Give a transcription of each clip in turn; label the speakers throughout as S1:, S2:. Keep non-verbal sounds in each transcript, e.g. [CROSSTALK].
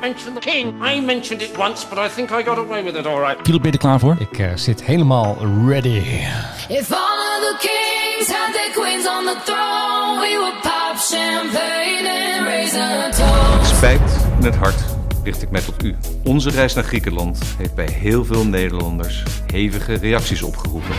S1: mention the king. I mentioned it once, but I think I got away with it all right.
S2: Kiel, ben je er klaar voor?
S3: Ik eh, zit helemaal ready.
S4: If all of the kings had their queens on the throne, we would pop champagne and raise a toast.
S5: Spijt en het hart richt ik mij tot u. Onze reis naar Griekenland heeft bij heel veel Nederlanders hevige reacties opgeroepen.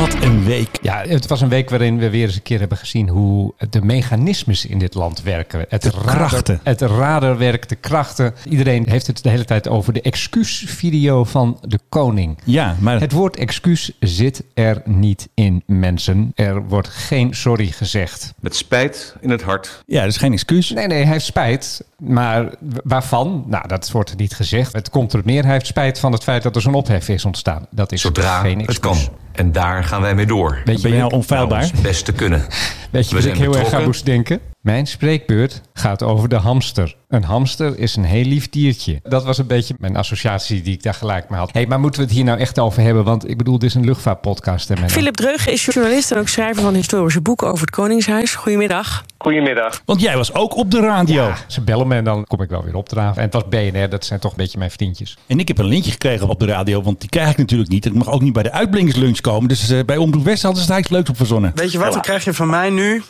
S2: Wat een week.
S3: Ja, het was een week waarin we weer eens een keer hebben gezien hoe de mechanismes in dit land werken. Het
S2: De krachten.
S3: Het raderwerk, de krachten. Iedereen heeft het de hele tijd over de excuusvideo van de koning.
S2: Ja, maar
S3: Het woord excuus zit er niet in, mensen. Er wordt geen sorry gezegd.
S5: Met spijt in het hart.
S2: ja, dat is geen excuus.
S3: Nee, nee, hij heeft spijt. Maar w- waarvan? Nou, dat wordt er niet gezegd. Het komt er meer. Hij heeft spijt van het feit dat er zo'n ophef is ontstaan. Dat is
S6: Zodra
S3: geen
S6: het kan.
S3: excuus.
S6: En daar gaan wij mee door.
S3: Weet je,
S2: ben je
S3: wel-
S2: nou onfeilbaar?
S6: Ons best te kunnen.
S3: Weet je
S6: We
S3: wat ik
S6: zijn
S3: heel erg aan
S6: betrokken.
S3: moest denken? Mijn spreekbeurt gaat over de hamster. Een hamster is een heel lief diertje. Dat was een beetje mijn associatie die ik daar gelijk mee had. hey, maar moeten we het hier nou echt over hebben? Want ik bedoel, dit is een luchtvaartpodcast. En men-
S7: Philip Dreugen is journalist en ook schrijver van historische boeken over het Koningshuis. Goedemiddag.
S1: Goedemiddag.
S2: Want jij was ook op de radio.
S3: Ja, ze bellen me en dan kom ik wel weer opdraven. En het was BNR, dat zijn toch een beetje mijn vriendjes.
S2: En ik heb een lintje gekregen op de radio, want die krijg ik natuurlijk niet. Ik mag ook niet bij de uitblinkerslunch komen. Dus eh, bij Omroep West hadden ze daar iets leuks op verzonnen.
S8: Weet je wat, dan krijg je van mij nu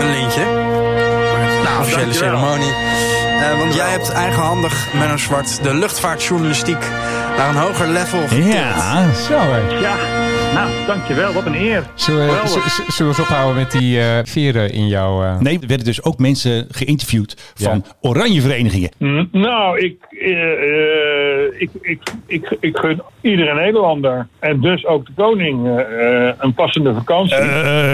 S8: een lintje. Na
S9: Nou,
S8: officiële ceremonie. Eh, want jij hebt eigenhandig, Menno Zwart, de luchtvaartjournalistiek naar een hoger level getild.
S2: Ja,
S3: Zo, hè.
S10: Ja, nou, dankjewel. Wat een eer.
S3: Zullen we, z- z- zullen we eens ophouden met die eh, veren in jouw... eh,
S2: Nee, er werden dus ook mensen geïnterviewd van oranje verenigingen.
S10: Mm, Nou, ik, eh, eh, ik, ik, ik, ik gun iedere Nederlander en dus ook de koning eh, eh, een passende vakantie.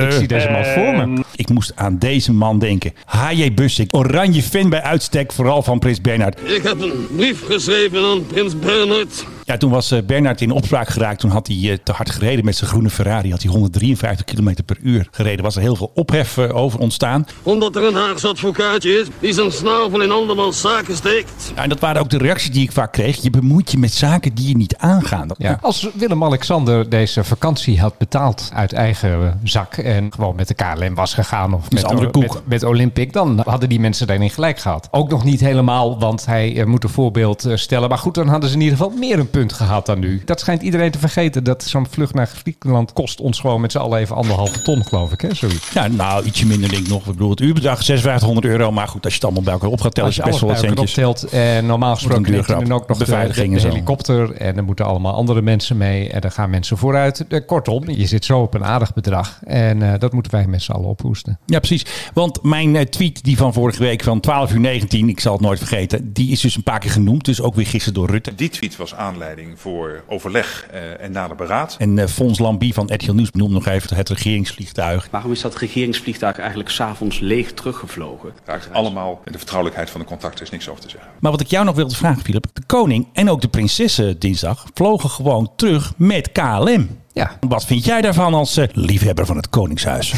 S3: ik zie deze man voor me.
S2: Ik moest aan deze man denken. H.J. Bussik, oranje fan bij uitstek, vooral van Prins Bernhard.
S11: Ik heb een brief geschreven aan prins Bernhard.
S2: Ja, toen was eh, Bernhard in opspraak geraakt. Toen had hij eh, te hard gereden met zijn groene Ferrari. Had hij 153 km per uur gereden. Was er heel veel ophef eh, over ontstaan.
S11: Omdat er een Haagse advocaatje is die zijn snavel in andermans zaken steekt.
S2: Ja, en dat waren ook de reacties die ik vaak kreeg. Je bemoeit je met zaken die je niet aangaan. Dat-
S3: Ja. Als Willem-Alexander deze vakantie had betaald uit eigen eh, zak en gewoon met de KLM was gegaan of met,
S2: andere koek.
S3: met, met Olympic, dan hadden die mensen daarin gelijk gehad. Ook nog niet helemaal, want hij eh, moet een voorbeeld eh, stellen. Maar goed, dan hadden ze in ieder geval meer een punt gehad dan nu. Dat schijnt iedereen te vergeten, dat zo'n vlucht naar Griekenland kost ons gewoon met z'n allen even anderhalve ton, geloof ik. Hè? Zoiets.
S2: Ja, nou, ietsje minder denk ik nog. Ik bedoel, het uurbedrag is 5600 euro. Maar goed, als je het allemaal bij elkaar op gaat tellen, is het best wel wat
S3: bij elkaar
S2: centjes.
S3: optelt, eh, normaal gesproken
S2: duur
S3: neemt hij
S2: grap.
S3: dan ook nog de,
S2: Beveiliging
S3: de
S2: en zo.
S3: helikopter. En er moeten allemaal andere mensen mee. En daar gaan mensen vooruit. Eh, kortom, je zit zo op een aardig bedrag. En eh, dat moeten wij met z'n allen ophoesten.
S2: Ja, precies. Want mijn eh, tweet die van vorige week van 12 uur 19, ik zal het nooit vergeten, die is dus een paar keer genoemd. Dus ook weer gisteren door Rutte.
S8: Die tweet was aanleiding voor overleg eh, en nader beraad.
S2: En eh, Fons Lambie van RTL Nieuws noemt nog even het regeringsvliegtuig.
S11: Waarom is dat regeringsvliegtuig eigenlijk s'avonds leeg teruggevlogen?
S8: Allemaal de vertrouwelijkheid van de contacten is niks over te zeggen.
S2: Maar wat ik jou nog wilde vragen, Philip. De koning en ook de prinsessen dinsdag vlogen gewoon terug met KLM.
S3: Ja,
S2: Wat vind jij daarvan als eh, liefhebber van het Koningshuis?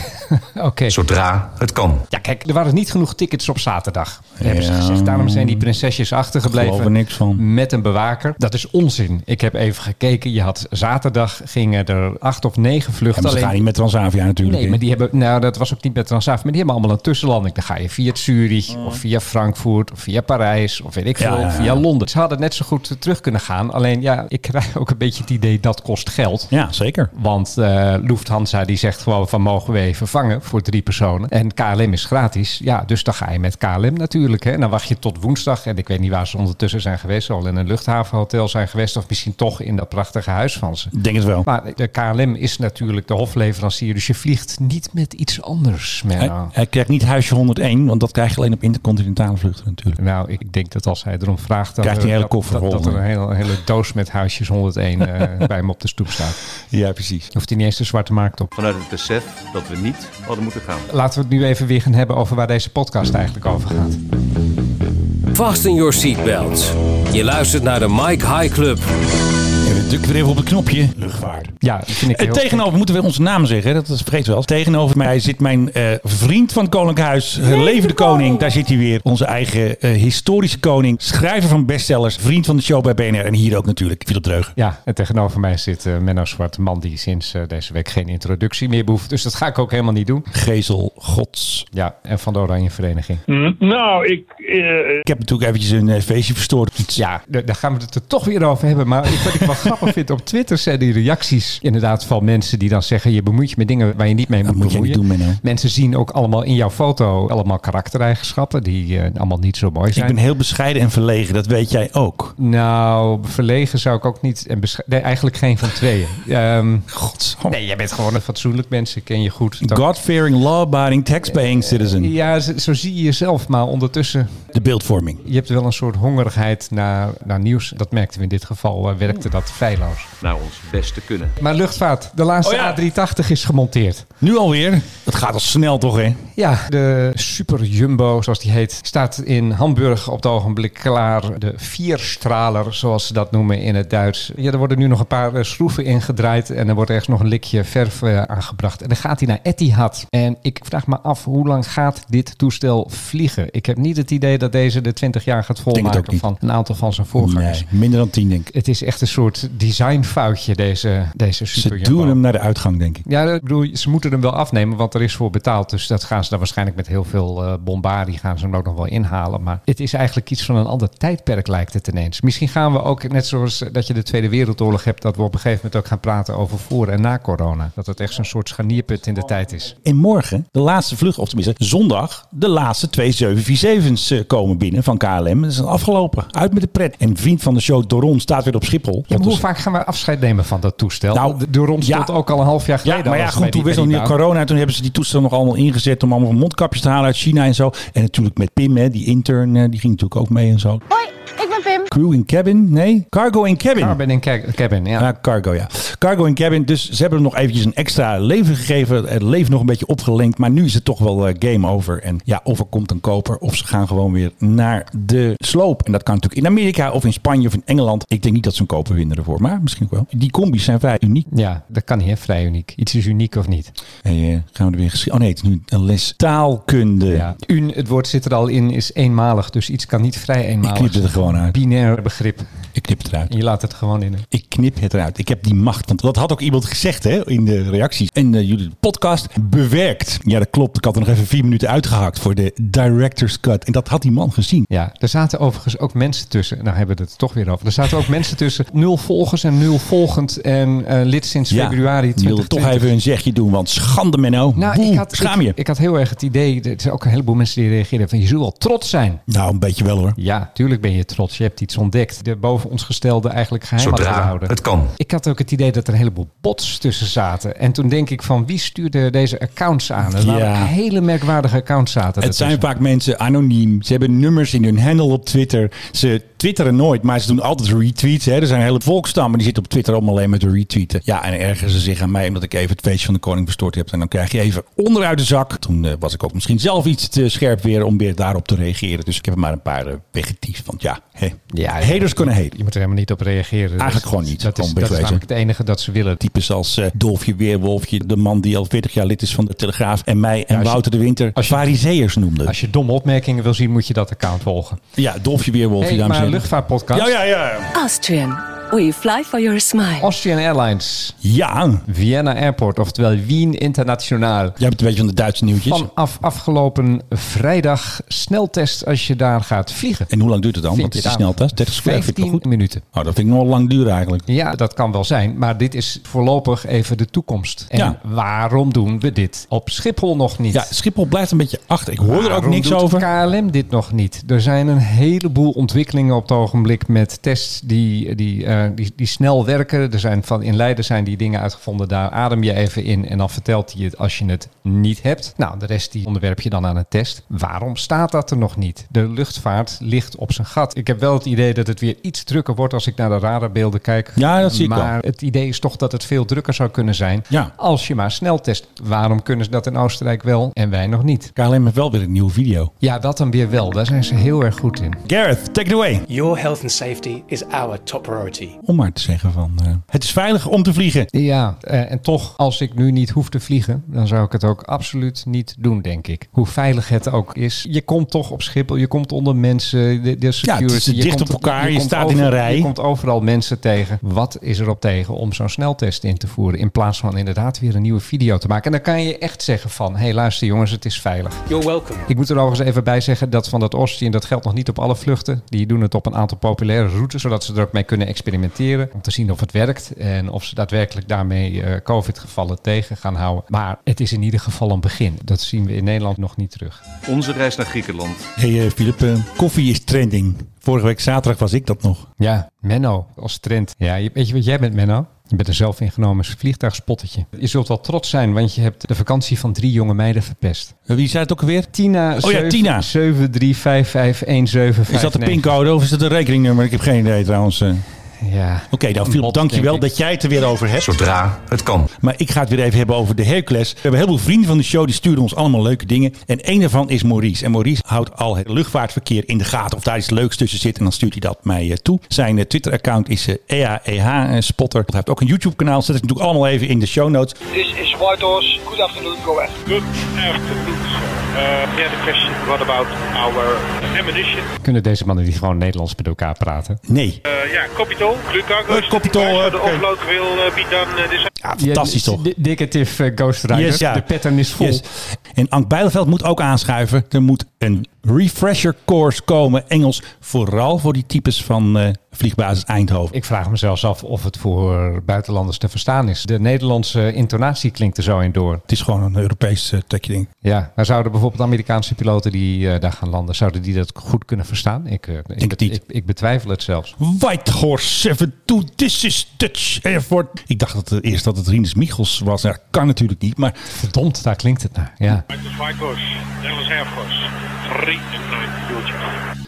S3: oké.
S6: Zodra het kan.
S3: Ja, kijk, er waren niet genoeg tickets op zaterdag. Hebben ze
S2: Ja.
S3: gezegd. Daarom zijn die prinsesjes achtergebleven.
S2: Geloof er niks van.
S3: Met een bewaker. Dat is onzin. Ik heb even gekeken. Je had zaterdag gingen er acht of negen
S2: En
S3: vluchten.
S2: ze gaan niet met Transavia natuurlijk.
S3: Nee,
S2: hè?
S3: maar die hebben, nou dat was ook niet bij Transavia, maar die hebben allemaal een tussenlanding. Dan ga je via Zurich of via Frankfurt of via Parijs of weet ik
S2: Oh. Ja,
S3: veel,
S2: ja, ja.
S3: via Londen. Ze hadden net zo goed eh, terug kunnen gaan. Alleen ja, ik krijg ook een beetje het idee dat kost geld.
S2: Ja, zeker.
S3: Want eh, Lufthansa die zegt gewoon van mogen we even vangen voor drie personen. En KLM is gratis. Ja, dus dan ga je met KLM natuurlijk. Hè. En dan wacht je tot woensdag. En ik weet niet waar ze ondertussen zijn geweest. Ze al in een luchthavenhotel zijn geweest. Of misschien toch in dat prachtige huis van ze.
S2: Ik Denk het wel.
S3: Maar de KLM is natuurlijk de hofleverancier, dus je vliegt niet met iets anders.
S2: Hij,
S3: Menno.
S2: hij krijgt niet huisje 101, want dat krijg je alleen op intercontinentale vluchten natuurlijk.
S3: Nou, ik denk dat als hij erom vraagt, dan
S2: Krijgt hij een hele koffer
S3: dat, dat,
S2: vol,
S3: dat er een
S2: hè?
S3: hele, hele doos met huisjes 101
S2: [LAUGHS]
S3: eh, bij hem op de stoep staat.
S2: Ja, precies.
S3: Hoeft hij niet eens de zwarte markt op.
S5: Vanuit het besef dat we niet hadden moeten gaan.
S3: Laten we het nu even weer gaan hebben over waar deze podcast eigenlijk over gaat.
S11: Fasten your seatbelts. Je luistert naar de Mike High Club.
S2: Ja, we drukken weer even op het knopje. luchtvaart.
S3: Ja, dat vind ik
S2: En
S3: heel...
S2: tegenover, moeten we onze naam zeggen, dat is vergeet wel. eens. Tegenover mij zit mijn eh, vriend van het Koninklijk Huis, eh, Levende Koning. Daar zit hij weer, onze eigen eh, historische koning. Schrijver van bestsellers, vriend van de show bij BNR. En hier ook natuurlijk, Philip Dreugen.
S3: Ja, en tegenover mij zit eh, Menno Zwart, man die sinds eh, deze week geen introductie meer behoeft. Dus dat ga ik ook helemaal niet doen.
S2: Gezel Gods.
S3: Ja, en van de Oranje Vereniging.
S10: Hm, Nou, ik, eh,
S2: Ik heb natuurlijk eventjes een eh, feestje verstoord. Iets-
S3: Ja, d- daar gaan we het er toch weer over hebben. Maar ik- wat ik wel [LAUGHS] grappig vind op Twitter zijn die reacties inderdaad van mensen die dan zeggen... je bemoeit je met dingen waar je niet mee moet,
S2: moet je niet
S3: bemoeien.
S2: doen, Menno.
S3: mensen zien ook allemaal in jouw foto allemaal karaktereigenschappen... die eh, allemaal niet zo mooi
S2: Ik
S3: zijn.
S2: ben heel bescheiden en verlegen, dat weet jij ook.
S3: Nou, verlegen zou ik ook niet... En besche- nee, eigenlijk geen van tweeën. [LAUGHS] Ehm,
S2: God.
S3: nee, jij bent gewoon een fatsoenlijk mens. Ik ken je goed. Dat-
S2: God-fearing, law-abiding, tax-paying citizen.
S3: Ja, zo zo zie je jezelf. Maar ondertussen,
S2: De beeldvorming.
S3: je hebt wel een soort hongerigheid naar, naar nieuws. Dat merkten we in dit geval, eh, werkte dat feilloos.
S5: Naar ons best te kunnen.
S3: Maar luchtvaart, de laatste
S2: Oh ja.
S3: A380 is gemonteerd.
S2: Nu alweer. Dat gaat al snel toch, hè?
S3: Ja, de Super Jumbo, zoals die heet, staat in Hamburg op het ogenblik klaar. De vierstraler, zoals ze dat noemen in het Duits. Ja, er worden nu nog een paar eh, schroeven ingedraaid en er wordt ergens nog een likje verf eh, aangebracht. En dan gaat hij naar Etihad. En ik vraag me af, hoe lang gaat dit toestel vliegen? Ik heb niet het idee dat deze de 20 jaar gaat
S2: het ook
S3: volmaken
S2: niet.
S3: van een aantal van zijn voorgangers.
S2: Nee, minder dan tien, denk ik.
S3: Het is echt een soort designfoutje, deze, deze Super
S2: Ze
S3: Jumbo.
S2: doen hem naar de uitgang, denk ik.
S3: Ja, ik bedoel, ze moeten hem wel afnemen, want er is voor betaald. Dus dat gaan ze dan waarschijnlijk met heel veel eh bombardie gaan ze hem ook nog wel inhalen. Maar het is eigenlijk iets van een ander tijdperk, lijkt het ineens. Misschien gaan we ook, net zoals dat je de Tweede Wereldoorlog hebt, dat we op een gegeven moment ook gaan praten over voor en na corona. Dat het echt zo'n soort scharnierpunt in de tijd is.
S2: En morgen, de laatste vlucht, of tenminste zondag, de laatste twee 747's eh, komen binnen van KLM. Dat is afgelopen. Uit met de pret. En vriend van de show, Doron, staat weer op Schiphol.
S3: Ja, maar hoe
S2: Dus-
S3: vaak gaan we afscheid nemen van dat toestel?
S2: Nou,
S3: Nou, door ons
S2: ja.
S3: stond ook al een half jaar
S2: ja,
S3: geleden.
S2: maar ja,
S3: alles
S2: goed,
S3: bij
S2: toen
S3: die-
S2: wist nog
S3: bij
S2: niet
S3: die baan.
S2: corona. Toen hebben ze die toestel nog allemaal ingezet om allemaal mondkapjes te halen uit China en zo. En natuurlijk met Pim, hè, die intern, eh, die ging natuurlijk ook mee en zo.
S12: Hoi, ik ben Pim.
S2: Crew in cabin? Nee, cargo in cabin.
S3: Carbon in ca- cabin, ja.
S2: Ja, cargo, ja. Cargo in cabin. Dus ze hebben hem nog eventjes een extra leven gegeven. Het leven nog een beetje opgelenkt. Maar nu is het toch wel eh, game over. En ja, of er komt een koper. Of ze gaan gewoon weer naar de sloop. En dat kan natuurlijk in Amerika of in Spanje of in Engeland. Ik denk niet dat ze een koper winnen ervoor. Maar misschien ook wel. Die combis zijn vrij uniek.
S3: Ja, dat kan niet, hè? vrij uniek. Iets is uniek of niet.
S2: Hey, eh, gaan we er weer geschiedenis... Oh nee, het is nu een les taalkunde.
S3: Ja. Un, het woord zit er al in, is eenmalig. Dus iets kan niet vrij
S2: Ik dus
S3: eenmalig
S2: knip het er gewoon uit.
S3: Binair begrip.
S2: Ik knip het eruit.
S3: Je laat het gewoon in.
S2: Ik knip het eruit. Ik heb die macht. Want dat had ook iemand gezegd hè, in de reacties. En eh, jullie podcast bewerkt. Ja, dat klopt. Ik had er nog even vier minuten uitgehakt voor de director's cut. En dat had die man gezien.
S3: Ja, er zaten overigens ook mensen tussen. Nou hebben we het er toch weer over. Er zaten ook mensen tussen. Nul volgers en nul volgend. En eh, lid sinds
S2: Ja,
S3: februari
S2: ik wilde
S3: 2020.
S2: toch even een zegje doen. Want schande Menno.
S3: Nou,
S2: Boe,
S3: ik, had,
S2: schaam je.
S3: Ik, ik had heel erg het idee, er zijn ook een heleboel mensen die reageerden van je zult wel trots zijn.
S2: nou, een beetje wel hoor.
S3: Ja, tuurlijk ben je trots. Je hebt iets ontdekt. De boven ons gestelde eigenlijk geheim had
S6: Zodra
S3: gehouden.
S6: het kan.
S3: Ik had ook het idee dat er een heleboel bots tussen zaten. En toen denk ik van wie stuurde deze accounts aan? Er waren
S2: Ja.
S3: hele merkwaardige accounts zaten.
S2: Het zijn
S3: ertussen.
S2: vaak mensen anoniem. Ze hebben nummers in hun handle op Twitter. Ze twitteren nooit, maar ze doen altijd retweets. Hè. Er zijn hele volkstammen die zitten op Twitter allemaal alleen met retweeten. Ja, en ergeren ze zich aan mij omdat ik even het feestje van de koning verstoord heb. En dan krijg je even onderuit de zak. Toen eh, was ik ook misschien zelf iets te scherp weer om weer daarop te reageren. Dus ik heb er maar een paar eh, weggetiefd. Want ja, hè.
S3: Ja,
S2: haters kunnen haten.
S3: Je moet er helemaal niet op reageren. Dat
S2: Eigenlijk
S3: is-
S2: gewoon niet.
S3: Dat
S2: Gewoon
S3: is, dat is
S2: wegwezen.
S3: namelijk het enige dat ze willen.
S2: Types als eh, Dolfje Weerwolfje, de man die al 40 jaar lid is van de Telegraaf. En mij en
S3: als je-
S2: Wouter de Winter
S3: als je-
S2: fariseërs noemde.
S3: Als je domme opmerkingen wil zien, moet je dat account volgen.
S2: ja, Dolfje Weerwolfje,
S3: Hey,
S2: dames en
S3: maar
S2: heren.
S3: luchtvaartpodcast.
S2: Ja, ja, ja.
S12: Austrian, we fly for your smile.
S3: Austrian Airlines,
S2: Ja,
S3: Vienna Airport, oftewel Wien Internationaal.
S2: Jij bent een beetje van de Duitse nieuwtjes.
S3: Vanaf afgelopen vrijdag sneltest als je daar gaat vliegen.
S2: En hoe lang duurt het dan?
S3: Vind
S2: Wat
S3: je
S2: is die
S3: daar?
S2: sneltest? 30 seconden? Vind ik wel
S3: 15
S2: goed.
S3: minuten.
S2: Oh, dat vind ik nog wel lang duren eigenlijk.
S3: Ja, dat kan wel zijn. Maar dit is voorlopig even de toekomst. En
S2: Ja.
S3: waarom doen we dit op Schiphol nog niet?
S2: Ja, Schiphol blijft een beetje achter. Ik hoor er ook
S3: Waarom
S2: niks
S3: doet
S2: over.
S3: KLM dit nog niet. Er zijn een heleboel ontwikkelingen op het ogenblik met tests die, die, eh, die, die snel werken. Er zijn van, in Leiden zijn die dingen uitgevonden. Daar adem je even in en dan vertelt hij het als je het niet hebt. Nou, de rest die onderwerp je dan aan een test. Waarom staat dat er nog niet? De luchtvaart ligt op zijn gat. Ik heb wel het idee dat het weer iets drukker wordt als ik naar de radarbeelden kijk.
S2: Ja, dat zie ik wel.
S3: Maar het idee is toch dat het veel drukker zou kunnen zijn
S2: Ja.
S3: als je maar snel test. Waarom kunnen ze dat in Oostenrijk wel en wij nog niet?
S2: KLM heeft wel weer een nieuwe video.
S3: Ja, dat dan weer wel. Daar zijn ze heel erg goed in.
S2: Gareth, take it away.
S13: Your health and safety is our top priority.
S2: optie om maar te zeggen van eh, het is veilig om te vliegen.
S3: Ja, eh, en toch, als ik nu niet hoef te vliegen, dan zou ik het ook absoluut niet doen, denk ik. Hoe veilig het ook is. Je komt toch op Schiphol, je komt onder mensen, de, de security.
S2: het is
S3: je
S2: dicht
S3: komt-
S2: op elkaar, je
S3: komt
S2: staat in een rij.
S3: Je komt overal mensen tegen. Wat is erop tegen om zo'n sneltest in te voeren? In plaats van inderdaad weer een nieuwe video te maken. En dan kan je echt zeggen van, hé hey, luister jongens, het is veilig.
S1: You're welcome.
S3: Ik moet er overigens even bij zeggen dat van dat Austin, dat geldt nog niet op alle vluchten. Die doen het op een aantal populaire routes, zodat ze er ook mee kunnen experimenteren. Om te zien of het werkt en of ze daadwerkelijk daarmee eh, COVID-gevallen tegen gaan houden. Maar het is in ieder geval een begin. Dat zien we in Nederland nog niet terug.
S5: Onze reis naar Griekenland.
S2: Hé hey, Filip, eh, koffie is trending. Vorige week zaterdag was ik dat nog.
S3: Ja, Menno als trend. Ja, je- weet je wat jij bent, Menno? Je bent een zelfingenomen vliegtuigspottetje. Je zult wel trots zijn, want je hebt de vakantie van drie jonge meiden verpest.
S2: Eh, Wie zei het ook alweer?
S3: Tina.
S2: Oh ja, Tina.
S3: 73551759.
S2: Is dat de pincode of is dat een rekeningnummer? Ik heb geen idee trouwens. eh.
S3: Ja.
S2: Oké, dan Filip,
S3: bot,
S2: dankjewel
S3: denk ik.
S2: dat jij het er weer over hebt.
S6: Zodra het kan.
S2: Maar ik ga het weer even hebben over de Hercules. We hebben heel veel vrienden van de show. Die sturen ons allemaal leuke dingen. En een daarvan is Maurice. En Maurice houdt al het luchtvaartverkeer in de gaten. Of daar iets leuks tussen zit. En dan stuurt hij dat mij eh, toe. Zijn eh, Twitter-account is eh, EAEH-spotter. eh, Hij heeft ook een YouTube-kanaal. Dat zet ik natuurlijk allemaal even in de show notes.
S13: This is White Horse. Good afternoon, go ahead. Good afternoon, sir. Uh, we had a question. What about our ammunition?
S3: Kunnen deze mannen die gewoon Nederlands met elkaar praten?
S2: Nee.
S13: Uh, ja, Copitol, Blue Cargo.
S2: Eh, Copitol,
S13: For the
S2: oké.
S13: offload will uh, be done uh, this
S2: Ja, fantastisch toch?
S3: Di- Dictative eh, Ghost Rider.
S2: Yes, ja.
S3: De pattern is vol.
S2: Yes. En Ank Bijleveld moet ook aanschuiven. Er moet een refresher course komen. Engels vooral voor die types van eh, vliegbasis Eindhoven.
S3: Ik vraag me zelfs af of het voor buitenlanders te verstaan is. De Nederlandse intonatie klinkt er zo in door.
S2: Het is gewoon een Europees eh, trekje ding.
S3: Ja, maar zouden bijvoorbeeld Amerikaanse piloten die eh, daar gaan landen, zouden die dat goed kunnen verstaan? Ik, eh, ik,
S2: het niet.
S3: ik, ik betwijfel het zelfs.
S2: Whitehorse 72, this is Dutch Airport. Ik dacht dat het eerst dat het Rinus Michels was. Ja, kan natuurlijk niet, maar
S3: Verdomd, daar klinkt het naar. Ja.
S13: This is White Horse, Dallas Air Force. 3 and 9, future.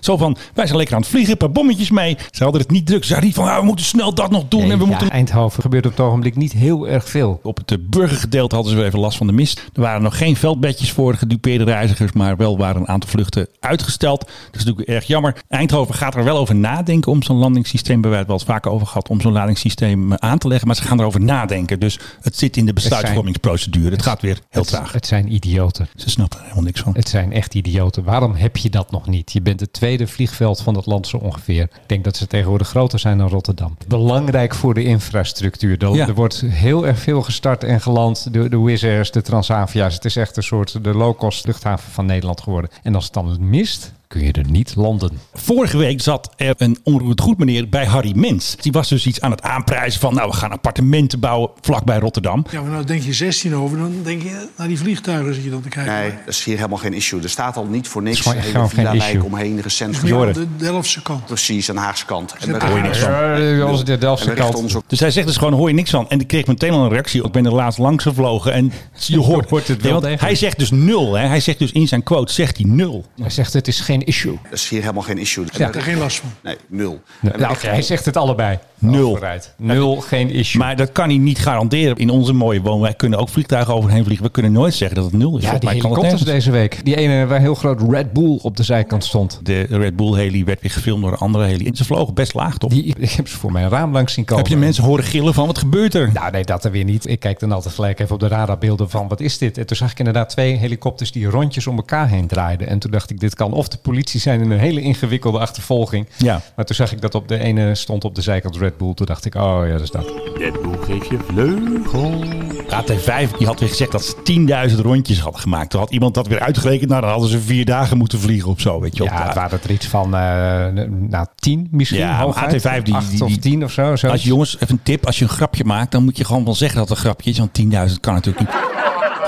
S2: zo van, wij zijn lekker aan het vliegen, een paar bommetjes mee. Ze hadden het niet druk. Ze zeiden van, ah, we moeten snel dat nog doen.
S3: Nee,
S2: en we
S3: ja,
S2: moeten...
S3: Eindhoven gebeurt op het ogenblik niet heel erg veel.
S2: Op het eh, burgergedeelte hadden ze weer even last van de mist. Er waren nog geen veldbedjes voor gedupeerde reizigers, maar wel waren een aantal vluchten uitgesteld. Dat is natuurlijk erg jammer. Eindhoven gaat er wel over nadenken om zo'n landingssysteem, waar we het wel eens vaker over gehad, om zo'n landingssysteem eh, aan te leggen. Maar ze gaan erover nadenken. Dus het zit in de besluitvormingsprocedure. Het gaat weer heel
S3: het,
S2: traag.
S3: het zijn idioten.
S2: Ze snappen er helemaal niks van.
S3: Het zijn echt idioten. Waarom heb je dat nog niet? Je bent het tweede vliegveld van dat land zo ongeveer. Ik denk dat ze tegenwoordig groter zijn dan Rotterdam. Belangrijk voor de infrastructuur. Er,
S2: Ja.
S3: er wordt heel erg veel gestart en geland door de Wizz Airs, de Transavia's. Het is echt een soort de low-cost luchthaven van Nederland geworden. En als het dan mist, kun je er niet landen.
S2: Vorige week zat er een onroerend goed meneer bij Harry Mens. Die was dus iets aan het aanprijzen van, nou we gaan appartementen bouwen vlakbij Rotterdam.
S14: Ja, maar nou denk je 16 over, dan denk je naar die vliegtuigen zit je dan te kijken.
S9: Nee, dat is hier helemaal geen issue. Er staat al niet voor niks
S3: Het is
S9: een
S3: gewoon echt
S9: hele
S3: gewoon geen
S9: villa-wijk
S3: issue.
S9: omheen, recent
S14: Maar
S3: Joren.
S14: aan de Delftse kant.
S9: Precies, aan de Haagse kant. En we
S14: Daar hoor je niks van.
S3: Ja, eh, als de Delftse
S9: en we richten
S3: kant.
S9: ons op
S2: Dus hij zegt dus gewoon, hoor je niks van. En ik kreeg meteen al een reactie. Ik ben er laatst langs gevlogen en je
S3: [LAUGHS]
S2: hoort.
S3: hoort het wel
S2: Nee, want
S3: degelijk.
S2: hij zegt dus nul. Hè. Hij zegt dus in zijn quote, zegt hij nul.
S3: Hij zegt het is geen issue.
S9: Dat is hier helemaal geen issue. En
S14: Ik heb
S9: we
S14: er
S9: richten-
S14: geen last van.
S9: Nee, nul. En we
S3: Nou,
S9: richten-
S3: hij zegt het allebei.
S2: Nul.
S3: Oh, vooruit. Nul, geen issue.
S2: Maar dat kan hij niet garanderen. In onze mooie woon, wij kunnen ook vliegtuigen overheen vliegen. We kunnen nooit zeggen dat het nul is.
S3: ja,
S2: Volgens
S3: die
S2: mij kan dat
S3: helikopters
S2: nergens.
S3: deze week. Die ene waar heel groot Red Bull op de zijkant stond.
S2: De Red Bull heli werd weer gefilmd door een andere heli. En ze vlogen best laag, toch?
S3: Die, [LAUGHS] ik heb ze voor mijn raam langs zien komen.
S2: Heb je mensen horen gillen van, wat gebeurt er?
S3: Nou nee, dat er weer niet. Ik kijk dan altijd gelijk even op de radarbeelden van wat is dit? En toen zag ik inderdaad twee helikopters die rondjes om elkaar heen draaiden. En toen dacht ik, dit kan of de politie zijn in een hele ingewikkelde achtervolging.
S2: Ja.
S3: Maar toen zag ik dat op de ene stond op de zijkant Red Bull. Toen dacht ik, oh ja, dat is dat.
S15: Red Bull geeft je vleugel.
S2: AT5 die had weer gezegd dat ze 10.000 rondjes hadden gemaakt. Toen had iemand dat weer uitgerekend. Nou, dan hadden ze vier dagen moeten vliegen of zo. Weet je, wel.
S3: Ja, het waren er iets van, eh nou, tien misschien.
S2: Ja, maar
S3: hooguit.
S2: AT5 die-
S3: Acht
S2: die-
S3: of
S2: die-
S3: tien of zo.
S2: als
S3: zoiets.
S2: je, jongens, even een tip. Als je een grapje maakt, dan moet je gewoon wel zeggen dat het een grapje is. Want 10.000 kan natuurlijk niet.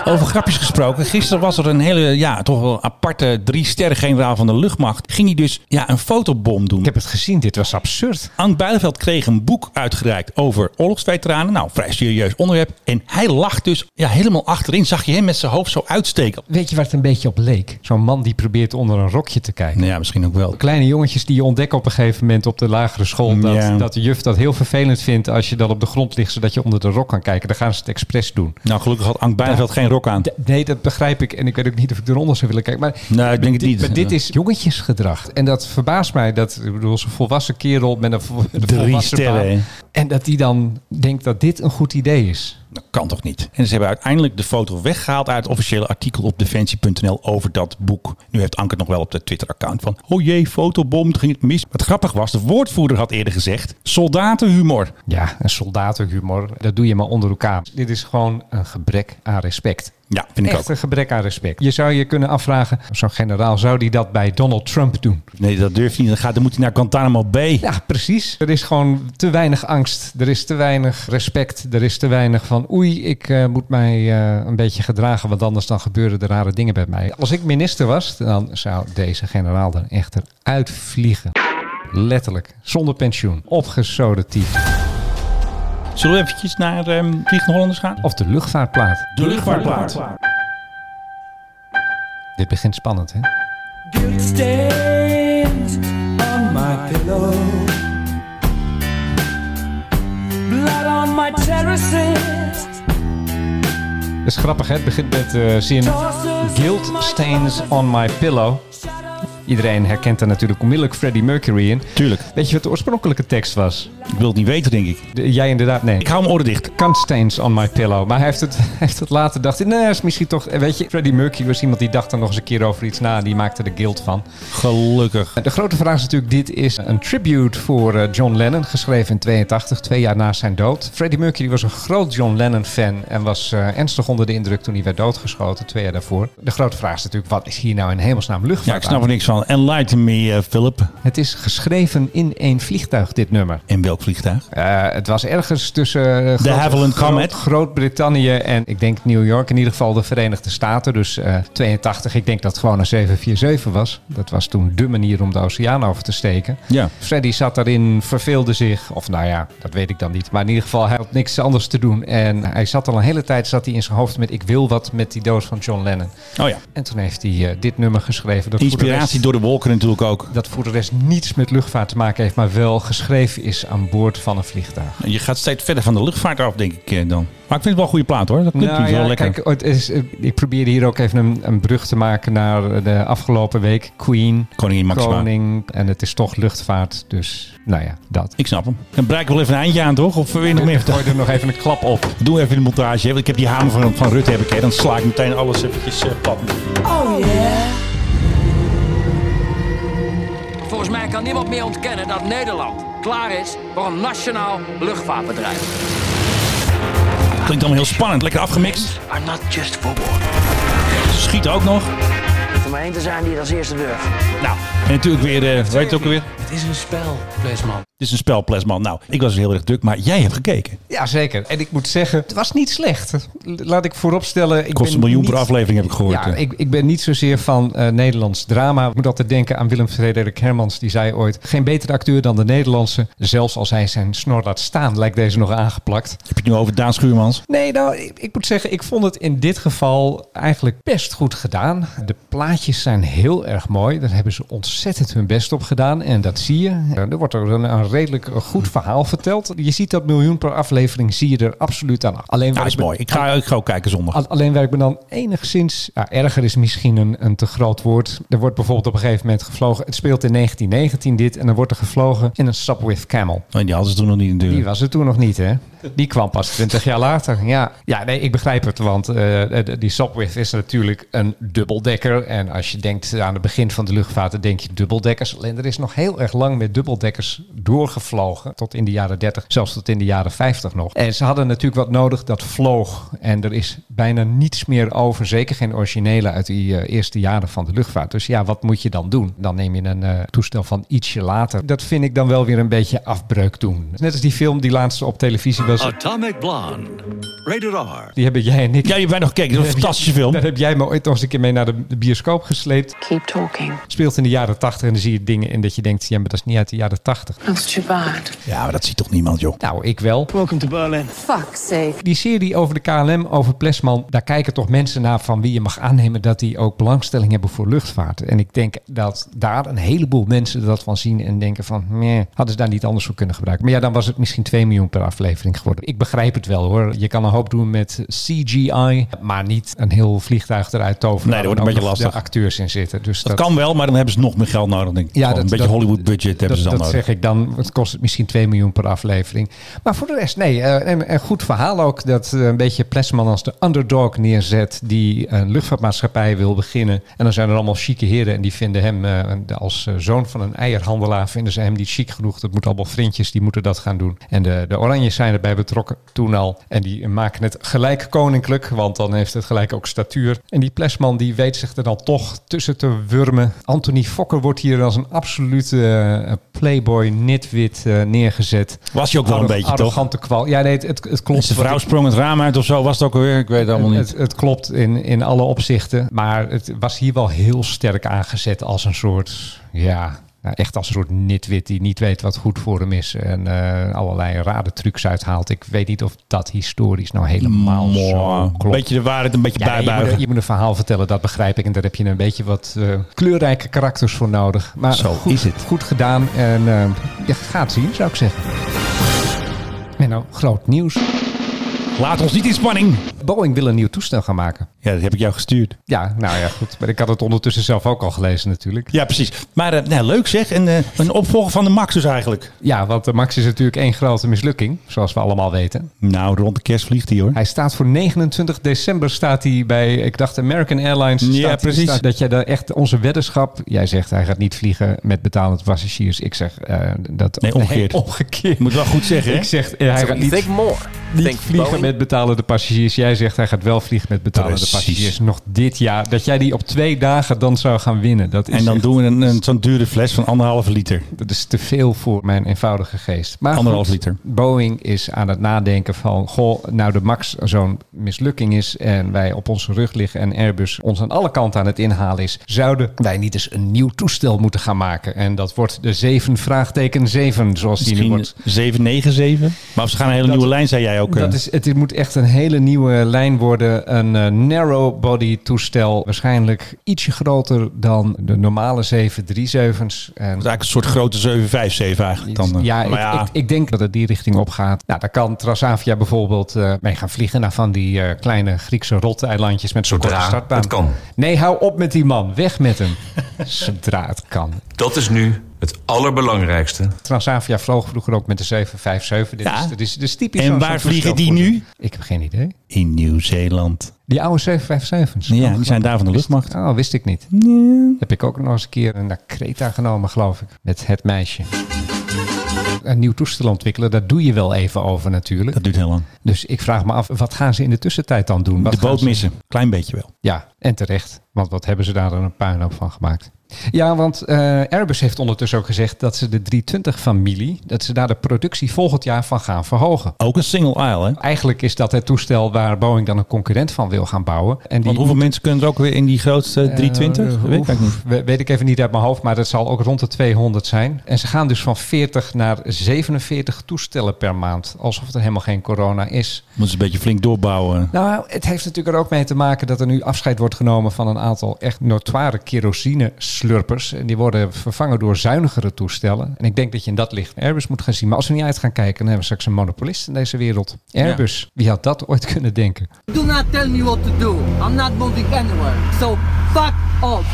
S2: Over grapjes gesproken. Gisteren was er een hele, ja, toch wel aparte drie-sterren generaal van de luchtmacht. Ging hij dus, ja, een fotobom doen.
S3: Ik heb het gezien, dit was absurd.
S2: Ank Bijleveld kreeg een boek uitgereikt over oorlogsveteranen. Nou, vrij serieus onderwerp. En hij lag dus ja, helemaal achterin. Zag je hem met zijn hoofd zo uitsteken?
S3: Weet je waar het een beetje op leek? Zo'n man die probeert onder een rokje te kijken.
S2: Nou ja, misschien ook wel.
S3: kleine jongetjes die je ontdekken op een gegeven moment op de lagere school. Dat,
S2: Ja.
S3: dat de juf dat heel vervelend vindt als je dan op de grond ligt, zodat je onder de rok kan kijken. Dan gaan ze het expres doen.
S2: Nou, gelukkig had Ank Bijleveld
S3: Ja,
S2: geen rok aan.
S3: Nee, dat begrijp ik. En ik weet ook niet of ik eronder zou willen kijken. Maar,
S2: Nou, ik denk het
S3: dit,
S2: niet.
S3: maar dit is jongetjesgedrag. En dat verbaast mij. Dat, ik bedoel, zo'n volwassen kerel met een, vo- met een
S2: Drie
S3: volwassen baan.
S2: sterren, hè?
S3: En dat die dan denkt dat dit een goed idee is.
S2: Dat kan toch niet? En ze hebben uiteindelijk de foto weggehaald uit het officiële artikel op defensie.nl over dat boek. Nu heeft Anke het nog wel op de Twitter-account van. Oh jee, fotobom, toen ging het mis. Wat grappig was, de woordvoerder had eerder gezegd: soldatenhumor.
S3: Ja, een soldatenhumor, dat doe je maar onder elkaar. Dit is gewoon een gebrek aan respect.
S2: Ja, vind ik
S3: Echt
S2: ook.
S3: een gebrek aan respect. Je zou je kunnen afvragen, zo'n generaal, zou die dat bij Donald Trump doen?
S2: Nee, dat durft hij niet. Dan, gaat, dan moet hij naar Guantanamo Bay.
S3: Ja, precies. Er is gewoon te weinig angst. Er is te weinig respect. Er is te weinig van oei, ik eh, moet mij eh, een beetje gedragen, want anders dan gebeuren er rare dingen bij mij. Als ik minister was, dan zou deze generaal er echter uitvliegen. Letterlijk. Zonder pensioen. Opgezoden type.
S2: Zullen we eventjes naar ehm Vliegende Hollanders gaan?
S3: Of de luchtvaartplaat.
S2: De luchtvaartplaat.
S3: Dit begint spannend, hè?
S16: Guilt stains on my pillow. Blood on my terraces.
S3: Dat is grappig, hè? Het begint met eh zin Guilt stains on my pillow. Iedereen herkent er natuurlijk onmiddellijk Freddie Mercury in.
S2: Tuurlijk.
S3: Weet je wat de oorspronkelijke tekst was?
S2: Ik wil het niet weten, denk ik.
S3: jij inderdaad, nee. Ik
S2: hou mijn oren dicht.
S3: Kant stains on my pillow. Maar hij heeft het, [LAUGHS] hij heeft het later dacht. hij, Nee, is misschien toch... eh, Weet je, Freddie Mercury was iemand die dacht er nog eens een keer over iets na. En die maakte er guilt van.
S2: Gelukkig.
S3: De grote vraag is natuurlijk, dit is een tribute voor eh, John Lennon, geschreven in 82, twee jaar na zijn dood. Freddie Mercury was een groot John Lennon-fan en was eh, ernstig onder de indruk toen hij werd doodgeschoten, twee jaar daarvoor. De grote vraag is natuurlijk, wat is hier nou in hemelsnaam luchtvaart
S2: Ja, ik snap
S3: aan?
S2: er niks van. Enlighten me, eh, Philip.
S3: Het is geschreven in één vliegtuig, dit nummer.
S2: In welk vliegtuig?
S3: Eh, het was ergens tussen eh,
S2: De
S3: Groot-
S2: Havilland
S3: Groot-
S2: Comet.
S3: Groot-Brittannië en ik denk New York, in ieder geval de Verenigde Staten. Dus eh, 82, ik denk dat het gewoon een 747 was. Dat was toen dé manier om de oceaan over te steken.
S2: Ja.
S3: Freddy zat daarin, verveelde zich. Of nou ja, dat weet ik dan niet. Maar in ieder geval, hij had niks anders te doen. En hij zat al een hele tijd zat hij in zijn hoofd met... ik wil wat met die dood van John Lennon.
S2: Oh ja.
S3: En toen heeft hij eh, dit nummer geschreven. Dat voor de
S2: Inspiratie
S3: rest-
S2: door de wolken natuurlijk ook.
S3: dat voor de rest niets met luchtvaart te maken heeft... maar wel geschreven is aan boord van een vliegtuig.
S2: Je gaat steeds verder van de luchtvaart af, denk ik eh, dan. Maar ik vind het wel een goede plaat hoor. Dat klinkt
S3: Nou
S2: wel
S3: ja,
S2: lekker.
S3: Kijk, het is, eh, ik probeer hier ook even een, een brug te maken naar de afgelopen week. Queen,
S2: Koningin Maxima.
S3: Koning, en het is toch luchtvaart. Dus nou ja, dat.
S2: Ik snap hem. Dan breik ik wel even een eindje aan, toch? Of wil je nog meer
S3: Gooi er nog even een klap op.
S2: Doe even de montage. hè, Want ik heb die hamer van, van Rut, heb ik. Hè. Dan sla ik meteen alles eventjes eh, plat.
S16: Oh yeah.
S17: Volgens mij kan niemand meer ontkennen dat Nederland klaar is voor een nationaal luchtvaartbedrijf.
S2: Klinkt allemaal heel spannend. Lekker afgemixt.
S17: Are not just for war.
S2: Schiet ook nog.
S17: Om maar één te zijn die het als eerste durft.
S2: Nou, en natuurlijk weer, eh weet je het ook alweer?
S17: Het is een spel, Plesman.
S2: Het is een spel, Plesman. Nou, ik was heel erg druk, maar jij hebt gekeken.
S3: Ja, zeker. En ik moet zeggen, het was niet slecht. L- Laat ik vooropstellen... Ik
S2: Kost een
S3: ben
S2: miljoen per
S3: niet-
S2: aflevering, heb ik gehoord.
S3: Ja,
S2: eh.
S3: ik, ik ben niet zozeer van eh, Nederlands drama. Ik moet altijd denken aan Willem Frederik Hermans. Die zei ooit, geen betere acteur dan de Nederlandse. Zelfs als hij zijn snor laat staan, lijkt deze nog aangeplakt.
S2: Heb je het nu over Daan Schuurmans?
S3: Nee, nou, ik, ik moet zeggen, ik vond het in dit geval eigenlijk best goed gedaan. De plaatjes zijn heel erg mooi. Daar hebben ze ontzettend hun best op gedaan. En dat zie je. Eh, Er wordt er een, een redelijk goed verhaal verteld. Je ziet dat miljoen per aflevering, zie je er absoluut aan. Alleen
S2: Ja,
S3: waar
S2: is
S3: ik me-
S2: mooi. Ik ga, ik ga ook kijken zondag.
S3: Al- Alleen waar ik me dan enigszins... ja, erger is misschien een, een te groot woord. Er wordt bijvoorbeeld op een gegeven moment gevlogen. Het speelt in 1919 dit. En dan wordt er gevlogen in een Subwith Camel.
S2: Oh, die hadden ze toen nog niet natuurlijk.
S3: Die was er toen nog niet, hè? Die kwam pas 20 jaar later. Ja, ja nee, ik begrijp het. Want eh, d- die Subwith is natuurlijk een dubbeldekker. En als je denkt aan het begin van de luchtvaart, dan denk je dubbeldekkers. Alleen er is nog heel erg lang met dubbeldekkers doorgevlogen. Tot in de jaren 30, zelfs tot in de jaren 50 nog. En ze hadden natuurlijk wat nodig dat vloog. En er is bijna niets meer over. Zeker geen originele uit die eh, eerste jaren van de luchtvaart. Dus ja, wat moet je dan doen? Dan neem je een eh, toestel van ietsje later. Dat vind ik dan wel weer een beetje afbreuk doen. Net als die film die laatst op televisie was.
S8: Oh.
S18: Atomic Blonde. Rated R.
S3: Die hebben jij en ik. Ja,
S2: je hebt mij nog gekeken. Dat was een fantastische
S12: [LAUGHS]
S2: film.
S3: Daar heb jij me ooit nog eens een keer mee naar de de bioscoop gesleept. Keep talking. Speelt in de jaren 80 en dan zie je dingen in dat je denkt, ja, maar dat is niet uit de jaren 80.
S12: That's too bad.
S2: Ja, maar dat ziet toch niemand, joh.
S3: Nou, ik wel.
S12: Welcome to Berlin. Fuck sake.
S3: Die serie over de KLM, over Plesman, daar kijken toch mensen naar van wie je mag aannemen dat die ook belangstelling hebben voor luchtvaart. En ik denk dat daar een heleboel mensen dat van zien en denken van, meh, hadden ze daar niet anders voor kunnen gebruiken. Maar ja, dan was het misschien 2 miljoen per aflevering slecht worden. Ik begrijp het wel hoor. Je kan een hoop doen met CGI, maar niet een heel vliegtuig eruit toveren.
S2: Nee, dat wordt
S3: Waar
S2: een
S3: dan
S2: beetje
S3: ook
S2: lastig.
S3: nog De acteurs in zitten. Dus
S2: Dat kan wel, maar dan hebben ze nog meer geld nodig. Denk ik. Gewoon een beetje Hollywood budget hebben
S3: dat,
S2: ze dan
S3: dat
S2: nodig.
S3: zeg ik dan. Het kost misschien 2 miljoen per aflevering. Maar voor de rest, nee. eh, Een, een goed verhaal ook. Dat eh, een beetje Plesman als de underdog neerzet. Die een luchtvaartmaatschappij wil beginnen. En dan zijn er allemaal chique heren. En die vinden hem eh, de- als eh, zoon van een eierhandelaar. Vinden ze hem niet chic genoeg. Dat moet allemaal vriendjes. Die moeten dat gaan doen. En de, de Oranjes zijn erbij betrokken toen al. En die maken het gelijk koninklijk. Want dan heeft het gelijk ook statuur. En die Plesman die weet zich er dan toch tussen te wurmen. Anthony Fokker wordt hier als een absolute eh, playboy nitwit eh, neergezet.
S2: Was je ook wel een
S3: Arro-
S2: beetje, toch?
S3: arrogante kwal. Ja, nee, het, het, het klopt.
S2: Zijn vrouw
S3: Wat ik-
S2: sprong het raam uit of zo, was het ook alweer? Ik weet het allemaal niet.
S3: het, het, het klopt in, in alle opzichten. Maar het was hier wel heel sterk aangezet als een soort. Ja. nou, echt als een soort nitwit die niet weet wat goed voor hem is. En eh, allerlei rare trucs uithaalt. Ik weet niet of dat historisch nou helemaal zo
S2: Een
S3: klopt.
S2: beetje de waarheid, een beetje
S3: Ja, nee, je, moet,
S2: bijbuigen.
S3: een- je moet een verhaal vertellen, dat begrijp ik. En daar heb je een beetje wat eh, kleurrijke karakters voor nodig. Maar
S2: Zo
S3: goed,
S2: is het.
S3: goed gedaan. En eh, je gaat zien, zou ik zeggen. Menno, groot nieuws.
S2: Laat ons niet in spanning.
S3: Boeing wil een nieuw toestel gaan maken.
S2: Ja, dat heb ik jou gestuurd.
S3: Ja, nou ja, goed. Maar ik had het ondertussen zelf ook al gelezen natuurlijk.
S2: Ja, precies. Maar eh, nou, leuk zeg. En, eh, een opvolger van de Max dus eigenlijk.
S3: Ja, want de Max is natuurlijk één grote mislukking, zoals we allemaal weten.
S2: Nou, rond de kerst vliegt hij hoor.
S3: Hij staat voor 29 december staat hij bij, ik dacht American Airlines.
S2: Ja,
S3: staat-
S2: precies.
S3: staat- dat jij daar echt onze weddenschap, jij zegt hij gaat niet vliegen met betalend passagiers. Ik zeg eh, dat
S2: Nee, omgekeerd.
S3: omgekeerd.
S2: Moet wel goed zeggen, hè?
S3: Ik zeg eh, hij gaat niet,
S19: Think more.
S3: niet
S19: Think
S3: vliegen
S19: Boeing.
S3: met betalende passagiers. Jij zegt hij gaat wel vliegen met betalende
S2: Precies.
S3: passagiers. Nog dit jaar. Dat jij die op twee dagen dan zou gaan winnen. Dat is
S2: En dan
S3: echt-
S2: doen we een, een, zo'n dure fles van anderhalve liter.
S3: dat is te veel voor mijn eenvoudige geest. Maar
S2: Anderhalf
S3: goed,
S2: liter.
S3: Boeing is aan het nadenken van... goh, nou de MAX zo'n mislukking is... en wij op onze rug liggen en Airbus ons aan alle kanten aan het inhalen is... zouden wij niet eens een nieuw toestel moeten gaan maken? En dat wordt de 7 vraagteken 7, zoals die nu
S2: Misschien
S3: wordt.
S2: 797. Maar ze gaan een hele
S3: Dat-
S2: nieuwe lijn, zei jij ook. eh.
S3: Dat is, het moet echt een hele nieuwe lijn worden. Een eh, narrow body toestel. Waarschijnlijk ietsje groter dan de normale 737's. En
S2: Dat is eigenlijk een soort grote 757 eigenlijk dan. eh.
S3: ja, ik,
S2: maar ja,
S3: Ik, ik denk dat het die richting op gaat. Nou, daar kan Transavia bijvoorbeeld eh, mee gaan vliegen naar van die eh, kleine Griekse rotteilandjes met zo'n korte
S6: Zodra
S3: startbaan.
S6: het kan.
S3: Nee, hou op met die man. Weg met
S6: [LAUGHS]
S3: hem. Zodra het kan.
S6: Dat is nu het allerbelangrijkste.
S3: Transavia vloog vroeger ook met de 757. Dit is, dit is, dit is typisch
S2: En
S3: zo'n-
S2: waar
S3: zo'n
S2: vliegen die
S3: toestel voor
S2: nu?
S3: Ik heb geen idee.
S2: In Nieuw-Zeeland.
S3: Die oude 757's.
S2: Ja, die zijn daar van de luchtmacht.
S3: Oh, wist ik niet. Heb ik ook nog eens een keer naar Kreta genomen, geloof ik. Met het meisje. Een nieuw toestel ontwikkelen, daar doe je wel even over natuurlijk.
S2: Dat duurt heel lang.
S3: Dus ik vraag me af, wat gaan ze in de tussentijd dan doen? Wat
S2: De
S3: gaan
S2: boot
S3: ze-
S2: missen. Klein beetje wel.
S3: Ja, en terecht. Want wat hebben ze daar dan een puinhoop van gemaakt? Ja, want eh, Airbus heeft ondertussen ook gezegd dat ze de 320-familie, dat ze daar de productie volgend jaar van gaan verhogen.
S2: Ook een single aisle, hè?
S3: Eigenlijk is dat het toestel waar Boeing dan een concurrent van wil gaan bouwen. En die
S2: Want hoeveel mensen kunnen er ook weer in die grootste 320?
S3: Eh,
S2: Dat weet ik eigenlijk niet.
S3: oef, we- weet ik even niet uit mijn hoofd, maar dat zal ook rond de 200 zijn. En ze gaan dus van 40 naar 47 toestellen per maand. Alsof er helemaal geen corona is.
S2: Moeten ze een beetje flink doorbouwen.
S3: Nou, het heeft natuurlijk er ook mee te maken dat er nu afscheid wordt genomen van een aantal echt notoire kerosine-slurpers. En die worden vervangen door zuinigere toestellen. En ik denk dat je in dat licht Airbus moet gaan zien. Maar als we niet uit gaan kijken, dan hebben we straks een monopolist in deze wereld. Airbus, wie had dat ooit kunnen denken?
S20: Do not tell me what to do. I'm not moving anywhere. So fuck off.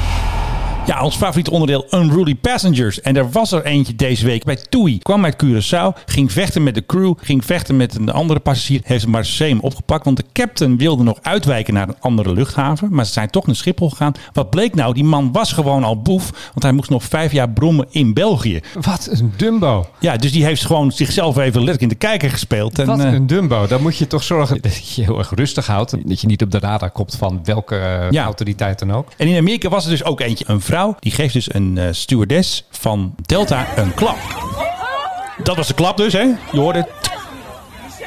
S2: Ja, ons favoriet onderdeel Unruly Passengers. En er was er eentje deze week bij TUI. Kwam uit Curaçao, ging vechten met de crew, ging vechten met een andere passagier. Heeft maar Marseille opgepakt, want de captain wilde nog uitwijken naar een andere luchthaven. Maar ze zijn toch naar Schiphol gegaan. Wat bleek nou? Die man was gewoon al boef, want hij moest nog vijf jaar brommen in België.
S3: Wat een dumbo.
S2: Ja, dus die heeft gewoon zichzelf even letterlijk in de kijker gespeeld. En,
S3: Wat
S2: eh,
S3: een dumbo. Dan moet je toch zorgen dat je je heel erg rustig houdt. Dat je niet op de radar komt van welke eh,
S2: Ja.
S3: autoriteit dan ook.
S2: En in Amerika was er dus ook eentje, een vrouw. Die geeft dus een eh, stewardess van Delta een klap. Dat was de klap dus, hè? Je hoorde het.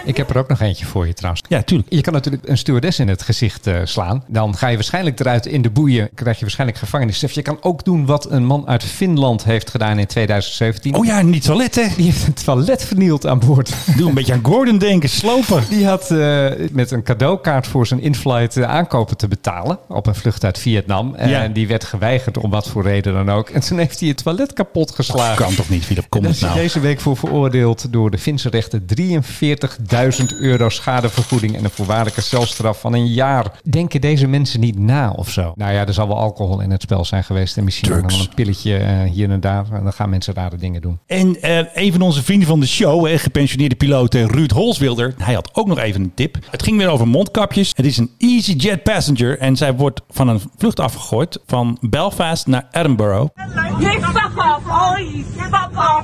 S3: Ik heb er ook nog eentje voor je trouwens.
S2: Ja, tuurlijk.
S3: Je kan natuurlijk een stewardess in het gezicht eh, slaan. Dan ga je waarschijnlijk eruit in de boeien. Krijg je waarschijnlijk gevangenisstraf. Je kan ook doen wat een man uit Finland heeft gedaan in 2017.
S2: Oh ja, en die toiletten.
S3: Die heeft een toilet vernield aan
S2: [LAUGHS]
S3: boord.
S2: Doe een beetje aan Gordon denken, slopen.
S3: Die had eh, met een cadeaukaart voor zijn in-flight eh, aankopen te betalen. Op een vlucht uit Vietnam. En
S2: Ja.
S3: die werd geweigerd om wat voor reden dan ook. En toen heeft hij het toilet kapot geslagen.
S2: Kan toch niet, Philip? Kom
S3: Daar
S2: eens
S3: is hij
S2: nou.
S3: deze week voor veroordeeld door de Finse rechter 43.000 1000 euro schadevergoeding en een voorwaardelijke celstraf van een jaar. Denken deze mensen niet na of zo? Nou ja, er zal wel alcohol in het spel zijn geweest. En misschien ook nog wel een pilletje eh, hier en daar. En dan gaan mensen rare dingen doen.
S2: En eh, een van onze vrienden van de show, eh, gepensioneerde piloot eh, Ruud Holswilder, hij had ook nog even een tip. Het ging weer over mondkapjes. Het is een EasyJet passenger en zij wordt van een vlucht afgegooid van Belfast naar Edinburgh.
S19: You fuck off, all you fuck off.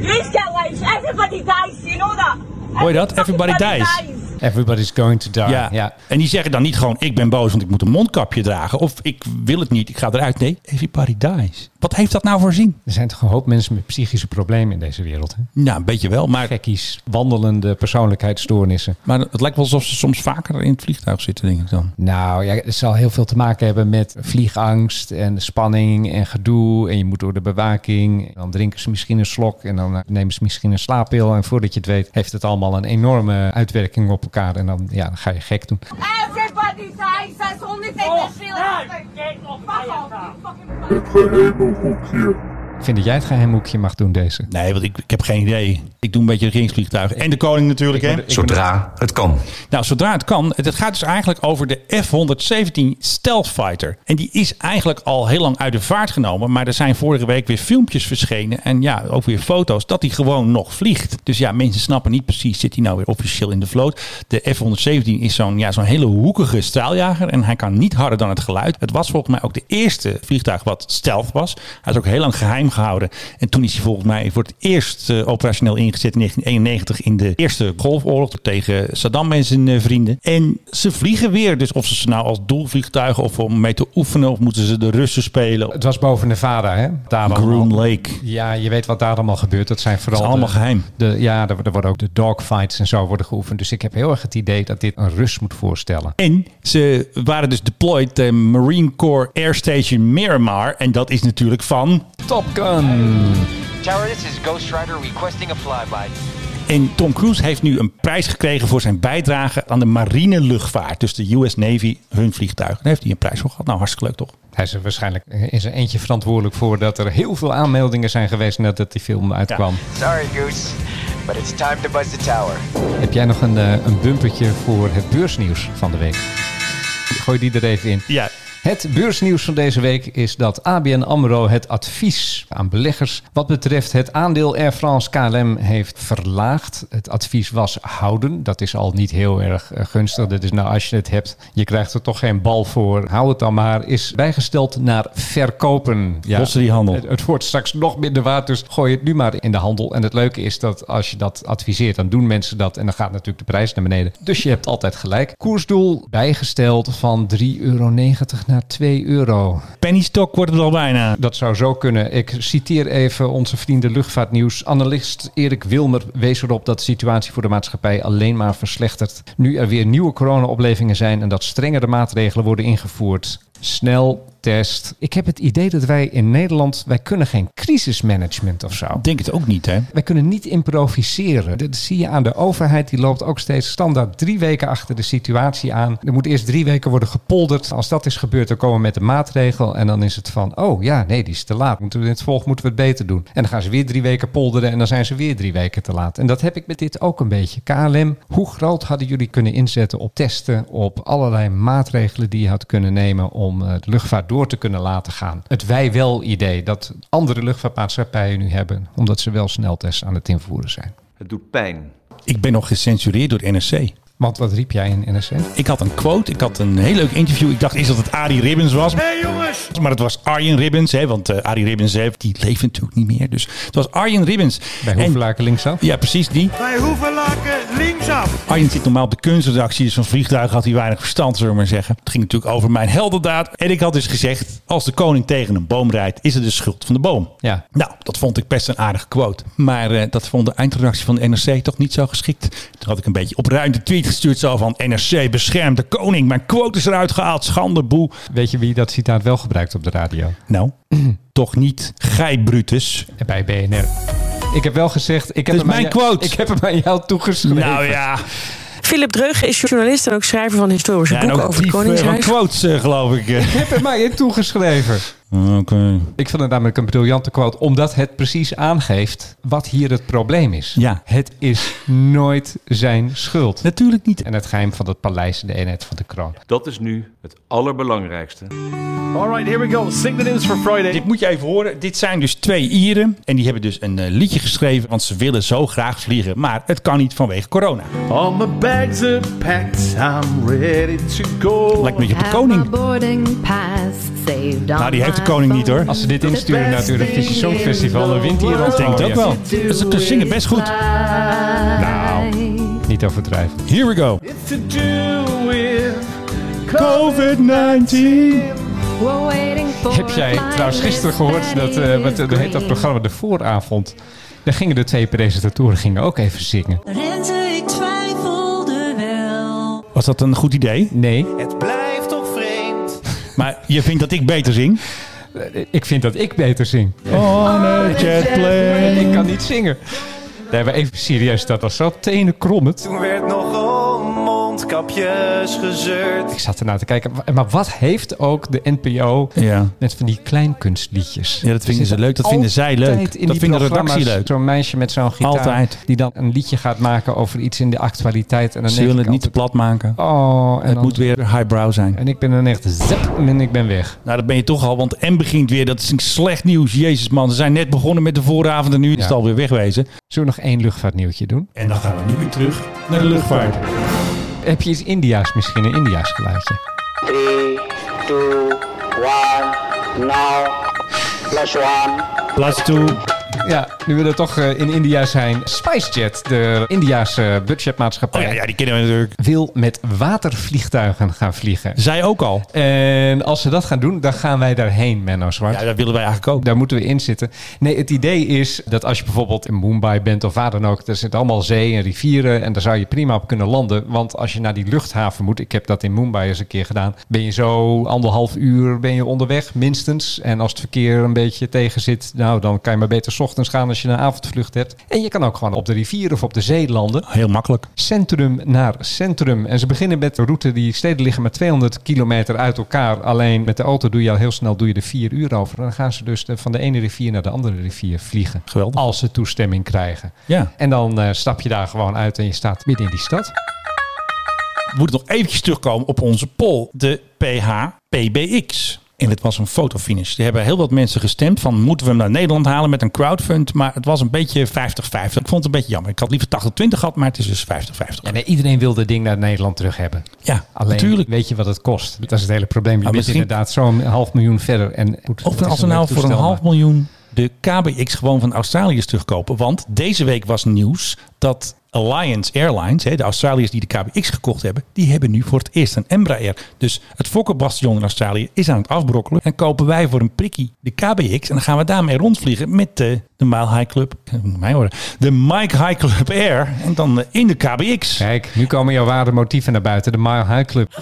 S19: You shall lives. Everybody dies, you know that.
S2: Hoor je dat? Everybody dies.
S3: Everybody's going to die.
S2: Ah, Ja. En die zeggen dan niet gewoon ik ben boos want ik moet een mondkapje dragen of ik wil het niet, ik ga eruit. Nee, everybody dies. Wat heeft dat nou voor zin?
S3: Er zijn toch een hoop mensen met psychische problemen in deze wereld. Hè?
S2: Nou, een beetje wel, maar...
S3: Gekkies, wandelende persoonlijkheidsstoornissen.
S2: Maar het lijkt wel alsof ze soms vaker in het vliegtuig zitten, denk ik dan.
S3: Nou ja, het zal heel veel te maken hebben met vliegangst en spanning en gedoe. En je moet door de bewaking. Dan drinken ze misschien een slok en dan eh, nemen ze misschien een slaappil. En voordat je het weet, heeft het allemaal een enorme uitwerking op elkaar. En dan, ja, dan ga je gek doen.
S19: Everybody dies. That's the only thing that's real. Fuck off, you fucking
S3: Het geheimhoekje. Ik vind dat jij het geheimhoekje mag doen, deze.
S2: Nee, want ik, ik heb geen idee. Ik doe een beetje regeringsvliegtuigen. En de koning natuurlijk, hè?
S6: Zodra het kan.
S2: Nou, zodra het kan. Het, het gaat dus eigenlijk over de F-117 Stealth Fighter. En die is eigenlijk al heel lang uit de vaart genomen. Maar er zijn vorige week weer filmpjes verschenen. En ja, ook weer foto's dat die gewoon nog vliegt. Dus ja, mensen snappen niet precies. Zit hij nou weer officieel in de vloot? De F-117 is zo'n ja, zo'n hele hoekige straaljager. En hij kan niet harder dan het geluid. Het was volgens mij ook de eerste vliegtuig wat stealth was. Hij is ook heel lang geheim gehouden. En toen is hij volgens mij voor het eerst eh, operationeel ingezet in 1991 in de Eerste Golfoorlog tegen Saddam en zijn eh, vrienden. En ze vliegen weer. Dus of ze ze nou als doelvliegtuigen of om mee te oefenen of moeten ze de Russen spelen.
S3: Het was boven Nevada, hè? Daar allemaal.
S2: Groom Lake.
S3: Ja, je weet wat daar allemaal gebeurt. Dat zijn vooral.
S2: Het is allemaal
S3: de-
S2: geheim.
S3: De, ja, er, er worden ook de dogfights en zo worden geoefend. Dus ik heb heel erg het idee dat dit een Rus moet voorstellen.
S2: En ze waren dus deployed ter Marine Corps Air Station Miramar. En dat is natuurlijk van...
S3: Top Gun.
S21: Tower, this is Ghost Rider requesting a flyby.
S2: En Tom Cruise heeft nu een prijs gekregen voor zijn bijdrage aan de marineluchtvaart. Dus de US Navy, hun vliegtuig. Daar heeft hij een prijs voor gehad. Nou, hartstikke leuk toch?
S3: Hij is er waarschijnlijk in zijn eentje verantwoordelijk voor dat er heel veel aanmeldingen zijn geweest nadat die film uitkwam.
S21: Sorry, Goose, but it's time to buzz the tower.
S3: Heb jij nog een, eh, een bumpertje voor het beursnieuws van de week? Gooi die er even in.
S2: Ja.
S3: Het beursnieuws van deze week is dat ABN AMRO het advies aan beleggers wat betreft het aandeel Air France KLM heeft verlaagd. Het advies was houden. Dat is al niet heel erg eh, gunstig. Dat is nou als je het hebt, je krijgt er toch geen bal voor. Hou het dan maar. Is bijgesteld naar verkopen.
S2: Lossen die handel.
S3: Het, het wordt straks nog minder waard, dus gooi het nu maar in de handel. En het leuke is dat als je dat adviseert, dan doen mensen dat. En dan gaat natuurlijk de prijs naar beneden. Dus je hebt altijd gelijk. Koersdoel bijgesteld van 3,90 euro naar 2 euro.
S2: Penny stock wordt het al bijna.
S3: Dat zou zo kunnen. Ik citeer even onze vrienden luchtvaartnieuws. Analist Erik Wilmer wees erop dat de situatie voor de maatschappij alleen maar verslechtert. Nu er weer nieuwe corona-oplevingen zijn en dat strengere maatregelen worden ingevoerd. Snel test. Ik heb het idee dat wij in Nederland, wij kunnen geen crisismanagement of zo.
S2: Denk het ook niet, hè?
S3: Wij kunnen niet improviseren. Dat zie je aan de overheid. Die loopt ook steeds standaard drie weken achter de situatie aan. Er moet eerst drie weken worden gepolderd. Als dat is gebeurd, dan komen we met de maatregel. En dan is het van, oh ja, nee, die is te laat. Moeten we in het volg moeten we het beter doen. En dan gaan ze weer drie weken polderen. En dan zijn ze weer drie weken te laat. En dat heb ik met dit ook een beetje. KLM, hoe groot hadden jullie kunnen inzetten op testen? Op allerlei maatregelen die je had kunnen nemen om eh, de luchtvaart door te kunnen laten gaan. Het wij wel idee dat andere luchtvaartmaatschappijen nu hebben. Omdat ze wel sneltests aan het invoeren zijn.
S5: Het doet pijn.
S2: Ik ben nog gecensureerd door NRC.
S3: Want wat riep jij in NSC?
S2: Ik had een quote, ik had een heel leuk interview. Ik dacht eerst dat het Arie Ribbons was.
S16: Hey, jongens!
S2: Maar het was Arjen Ribbons, hè, want eh, Arie Ribbons hè, die leeft natuurlijk niet meer. Dus het was Arjen Ribbons.
S3: Bij Hoevelaken linksaf?
S2: Ja, precies die.
S16: Wij hoeven laken linksaf.
S2: Arjen zit normaal op de kunstredactie, dus van vliegtuigen had hij weinig verstand, zullen we maar zeggen. Het ging natuurlijk over mijn heldendaad. En ik had dus gezegd, als de koning tegen een boom rijdt, is het de schuld van de boom.
S3: Ja.
S2: Nou, dat vond ik best een aardige quote. Maar eh, dat vond de eindredactie van de NRC toch niet zo geschikt. Toen had ik een beetje opruimde tweet gestuurd, zo van NRC beschermt de koning. Mijn quote is eruit gehaald, schande, boe.
S3: Weet je wie dat citaat wel gebruikt op de radio?
S2: Nou, toch niet gij Brutus.
S3: Bij BNR. Ik heb wel gezegd... Ik heb
S2: is
S3: hem aan
S2: mijn
S3: jou-
S2: quote.
S3: Ik heb hem aan jou toegeschreven.
S2: Nou ja,
S7: Philip Dreugen is journalist en ook schrijver van historische
S2: ja en
S7: boeken
S2: ook
S7: over het
S2: dief eh, van
S7: Koningshuis.
S3: [LAUGHS]
S2: quotes eh, geloof ik. eh.
S3: Ik heb hem aan je toegeschreven.
S2: Oké.
S3: Ik vind het namelijk een briljante quote, omdat het precies aangeeft wat hier het probleem is.
S2: Ja.
S3: Het is nooit zijn schuld.
S2: Natuurlijk niet.
S3: En het geheim van het paleis en de eenheid van de kroon.
S5: Dat is nu het allerbelangrijkste.
S4: All right, here we go. Sing the news for Friday.
S2: Dit moet je even horen. Dit zijn dus twee Ieren. En die hebben dus een eh, liedje geschreven. Want ze willen zo graag vliegen. Maar het kan niet vanwege corona.
S4: All my bags are packed. I'm ready to go.
S2: Lijkt een beetje op de
S22: Have
S2: koning.
S22: my boarding pass saved on
S2: Nou, die heeft de
S22: my
S2: koning niet hoor.
S3: Als ze dit insturen naar het Eurovisie Songfestival, dan wint hij er al.
S2: Ik denk het ook wel.
S22: phone.
S2: Ze ze zingen best goed.
S3: Nou, niet overdrijven.
S2: Here we go.
S4: It's to do with
S2: COVID-19.
S22: We're waiting for
S3: Heb jij trouwens gisteren gehoord dat, eh, wat hoe heet dat programma, de vooravond? Daar gingen de twee presentatoren gingen ook even zingen.
S23: Renze, ik twijfelde wel.
S2: Was dat een goed idee?
S3: Nee.
S23: Het blijft toch vreemd.
S2: Maar je vindt dat ik beter zing?
S3: Eh, Ik vind dat ik beter zing.
S2: On a jet plane.
S3: Ik kan niet zingen. Nee, maar even serieus, dat was zo tenen krommend.
S23: Toen werd nog om mondkapjes gezeurd.
S3: Ik zat ernaar te kijken, wa- maar wat heeft ook de NPO
S2: Ja.
S3: met van die kleinkunstliedjes?
S2: Ja, dat vinden
S3: Er
S2: ze
S3: zitten
S2: leuk. Dat vinden zij leuk.
S3: altijd in
S2: Dat
S3: die
S2: vindt de
S3: programma's
S2: redactie leuk.
S3: Zo'n meisje met zo'n gitaar
S2: Altijd.
S3: die dan een liedje gaat maken over iets in de actualiteit. En dan
S2: Ze
S3: denk
S2: willen
S3: ik
S2: het niet te plat maken.
S3: altijd, Oh, en
S2: het
S3: dan-
S2: moet weer highbrow zijn.
S3: En ik ben dan echt zap en ik ben weg.
S2: Nou, dat ben je toch al, want M begint weer. Dat is een slecht nieuws. Jezus man, ze zijn net begonnen met de vooravond en nu is het
S3: Ja.
S2: alweer wegwezen.
S3: Zullen we nog één luchtvaartnieuwtje doen?
S2: En dan gaan we nu weer terug naar de luchtvaart.
S3: Heb je iets Indiaas misschien? Een Indiaas geluidje?
S24: Three, two, one, now. Plus one.
S2: Plus two.
S3: Ja, nu we er toch eh, in India zijn. SpiceJet, de Indiaanse budgetmaatschappij,
S2: Oh ja, ja, die kennen we natuurlijk.
S3: wil met watervliegtuigen gaan vliegen.
S2: Zij ook al.
S3: En als ze dat gaan doen, dan gaan wij daarheen, Menno Zwart.
S2: Ja, dat willen wij eigenlijk ook.
S3: Daar moeten we in zitten. Nee, het idee is dat als je bijvoorbeeld in Mumbai bent of waar dan ook, er zit allemaal zee en rivieren en daar zou je prima op kunnen landen. Want als je naar die luchthaven moet, ik heb dat in Mumbai eens een keer gedaan, ben je zo anderhalf uur ben je onderweg, minstens. En als het verkeer een beetje tegen zit, nou dan kan je maar beter 's ochtends gaan als je een avondvlucht hebt. En je kan ook gewoon op de rivier of op de zee landen
S2: Heel makkelijk.
S3: centrum naar centrum. En ze beginnen met de route die steden liggen maar 200 kilometer uit elkaar. Alleen met de auto doe je al heel snel doe je er vier uur over. En dan gaan ze dus de- van de ene rivier naar de andere rivier vliegen.
S2: Geweldig.
S3: Als ze toestemming krijgen.
S2: Ja.
S3: En dan eh, stap je daar gewoon uit en je staat midden in die stad.
S2: We moeten nog eventjes terugkomen op onze poll. De PHPBX. En het was een fotofinish. Er hebben heel wat mensen gestemd van moeten we hem naar Nederland halen met een crowdfund. Maar het was een beetje 50-50. Ik vond het een beetje jammer. Ik had liever 80-20 gehad, maar het is dus 50-50.
S3: En iedereen wil dat ding naar Nederland terug hebben.
S2: Ja,
S3: Alleen
S2: natuurlijk.
S3: weet je wat het kost. Dat is het hele probleem. Je
S2: Maar
S3: bent
S2: misschien-
S3: inderdaad zo'n half miljoen verder. En goed, dat
S2: Of
S3: is
S2: als we nou
S3: leuk
S2: voor een
S3: toestel,
S2: half
S3: maar-
S2: miljoen de KBX gewoon van Australiërs terugkopen. Want deze week was nieuws dat Alliance Airlines, hè, de Australiërs die de KBX gekocht hebben, die hebben nu voor het eerst een Embraer. Dus het Fokkerbastion in Australië is aan het afbrokkelen. En kopen wij voor een prikkie de KBX en dan gaan we daarmee rondvliegen met de, de Mile High Club, eh, moet mij horen, de Mike High Club Air en dan eh, in de KBX.
S3: Kijk, nu komen jouw ware motieven naar buiten. De Mile High Club.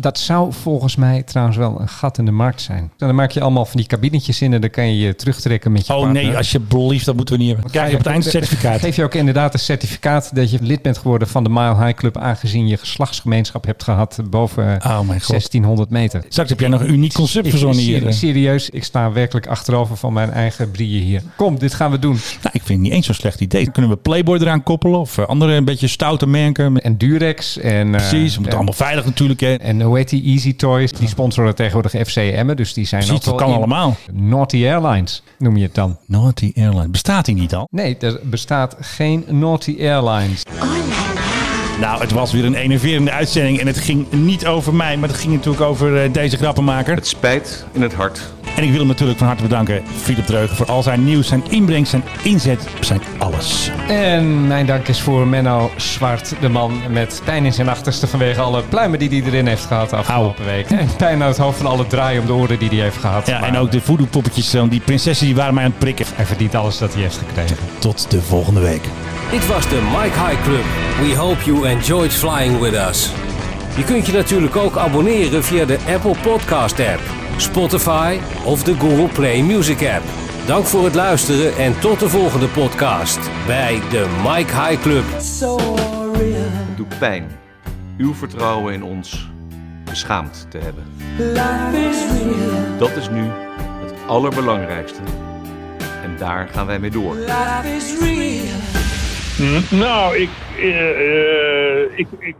S3: Dat zou volgens mij trouwens wel een gat in de markt zijn. Dan maak je allemaal van die kabinetjes in en dan kan je je terugtrekken met je
S2: Oh
S3: partner.
S2: nee, alsjeblieft, dat moeten we niet hebben. Dan krijg je op het eind een certificaat.
S3: Geef je ook inderdaad een certificaat dat je lid bent geworden van de Mile High Club, aangezien je geslachtsgemeenschap hebt gehad boven
S2: Oh mijn god.
S3: 1600 meter.
S2: Straks heb jij nog een uniek concept
S3: Ik-
S2: verzonnen hier.
S3: serie- Serieus, ik sta werkelijk achterover van mijn eigen brieën hier. Kom, dit gaan we doen.
S2: Nou, ik vind het niet eens zo'n slecht idee. Dan kunnen we Playboy eraan koppelen of eh, andere een beetje stoute merken.
S3: En Durex en... eh,
S2: Precies, we
S3: en-
S2: moeten allemaal veilig natuurlijk. Hè.
S3: En hoe heet die Easy Toys? Die sponsoren tegenwoordig FC Emmen, dus die zijn
S2: Precies,
S3: ook
S2: dat
S3: wel
S2: kan
S3: in.
S2: allemaal.
S3: Naughty Airlines noem je het dan.
S2: Naughty Airlines, bestaat die niet al?
S3: Nee, er bestaat geen Naughty Airlines.
S2: Nou, het was weer een enerverende uitzending en het ging niet over mij, maar het ging natuurlijk over eh, deze grappenmaker.
S5: Het spijt in het hart.
S2: En ik wil hem natuurlijk van harte bedanken, Philip Dreugen, voor al zijn nieuws, zijn inbreng, zijn inzet, zijn alles.
S3: En mijn dank is voor Menno Zwart, de man met pijn in zijn achterste vanwege alle pluimen die hij erin heeft gehad de afgelopen week. En pijn aan het hoofd van alle draai om de oren die hij heeft gehad.
S2: Ja,
S3: Maar
S2: en ook de voodoo-poppetjes, eh, die prinsessen, die waren mij aan het prikken.
S3: Hij verdient alles dat hij heeft gekregen.
S2: Tot de volgende week.
S25: Dit was de Mike High Club. We hope you enjoyed flying with us. Je kunt je natuurlijk ook abonneren via de Apple Podcast app, Spotify of de Google Play Music app. Dank voor het luisteren en tot de volgende podcast bij de Mike High Club.
S5: Doe pijn. Uw vertrouwen in ons beschaamd te hebben.
S26: Life is real.
S5: Dat is nu het allerbelangrijkste. En daar gaan wij mee door.
S26: Life is real.
S13: Nou, ik, eh, eh, ik, ik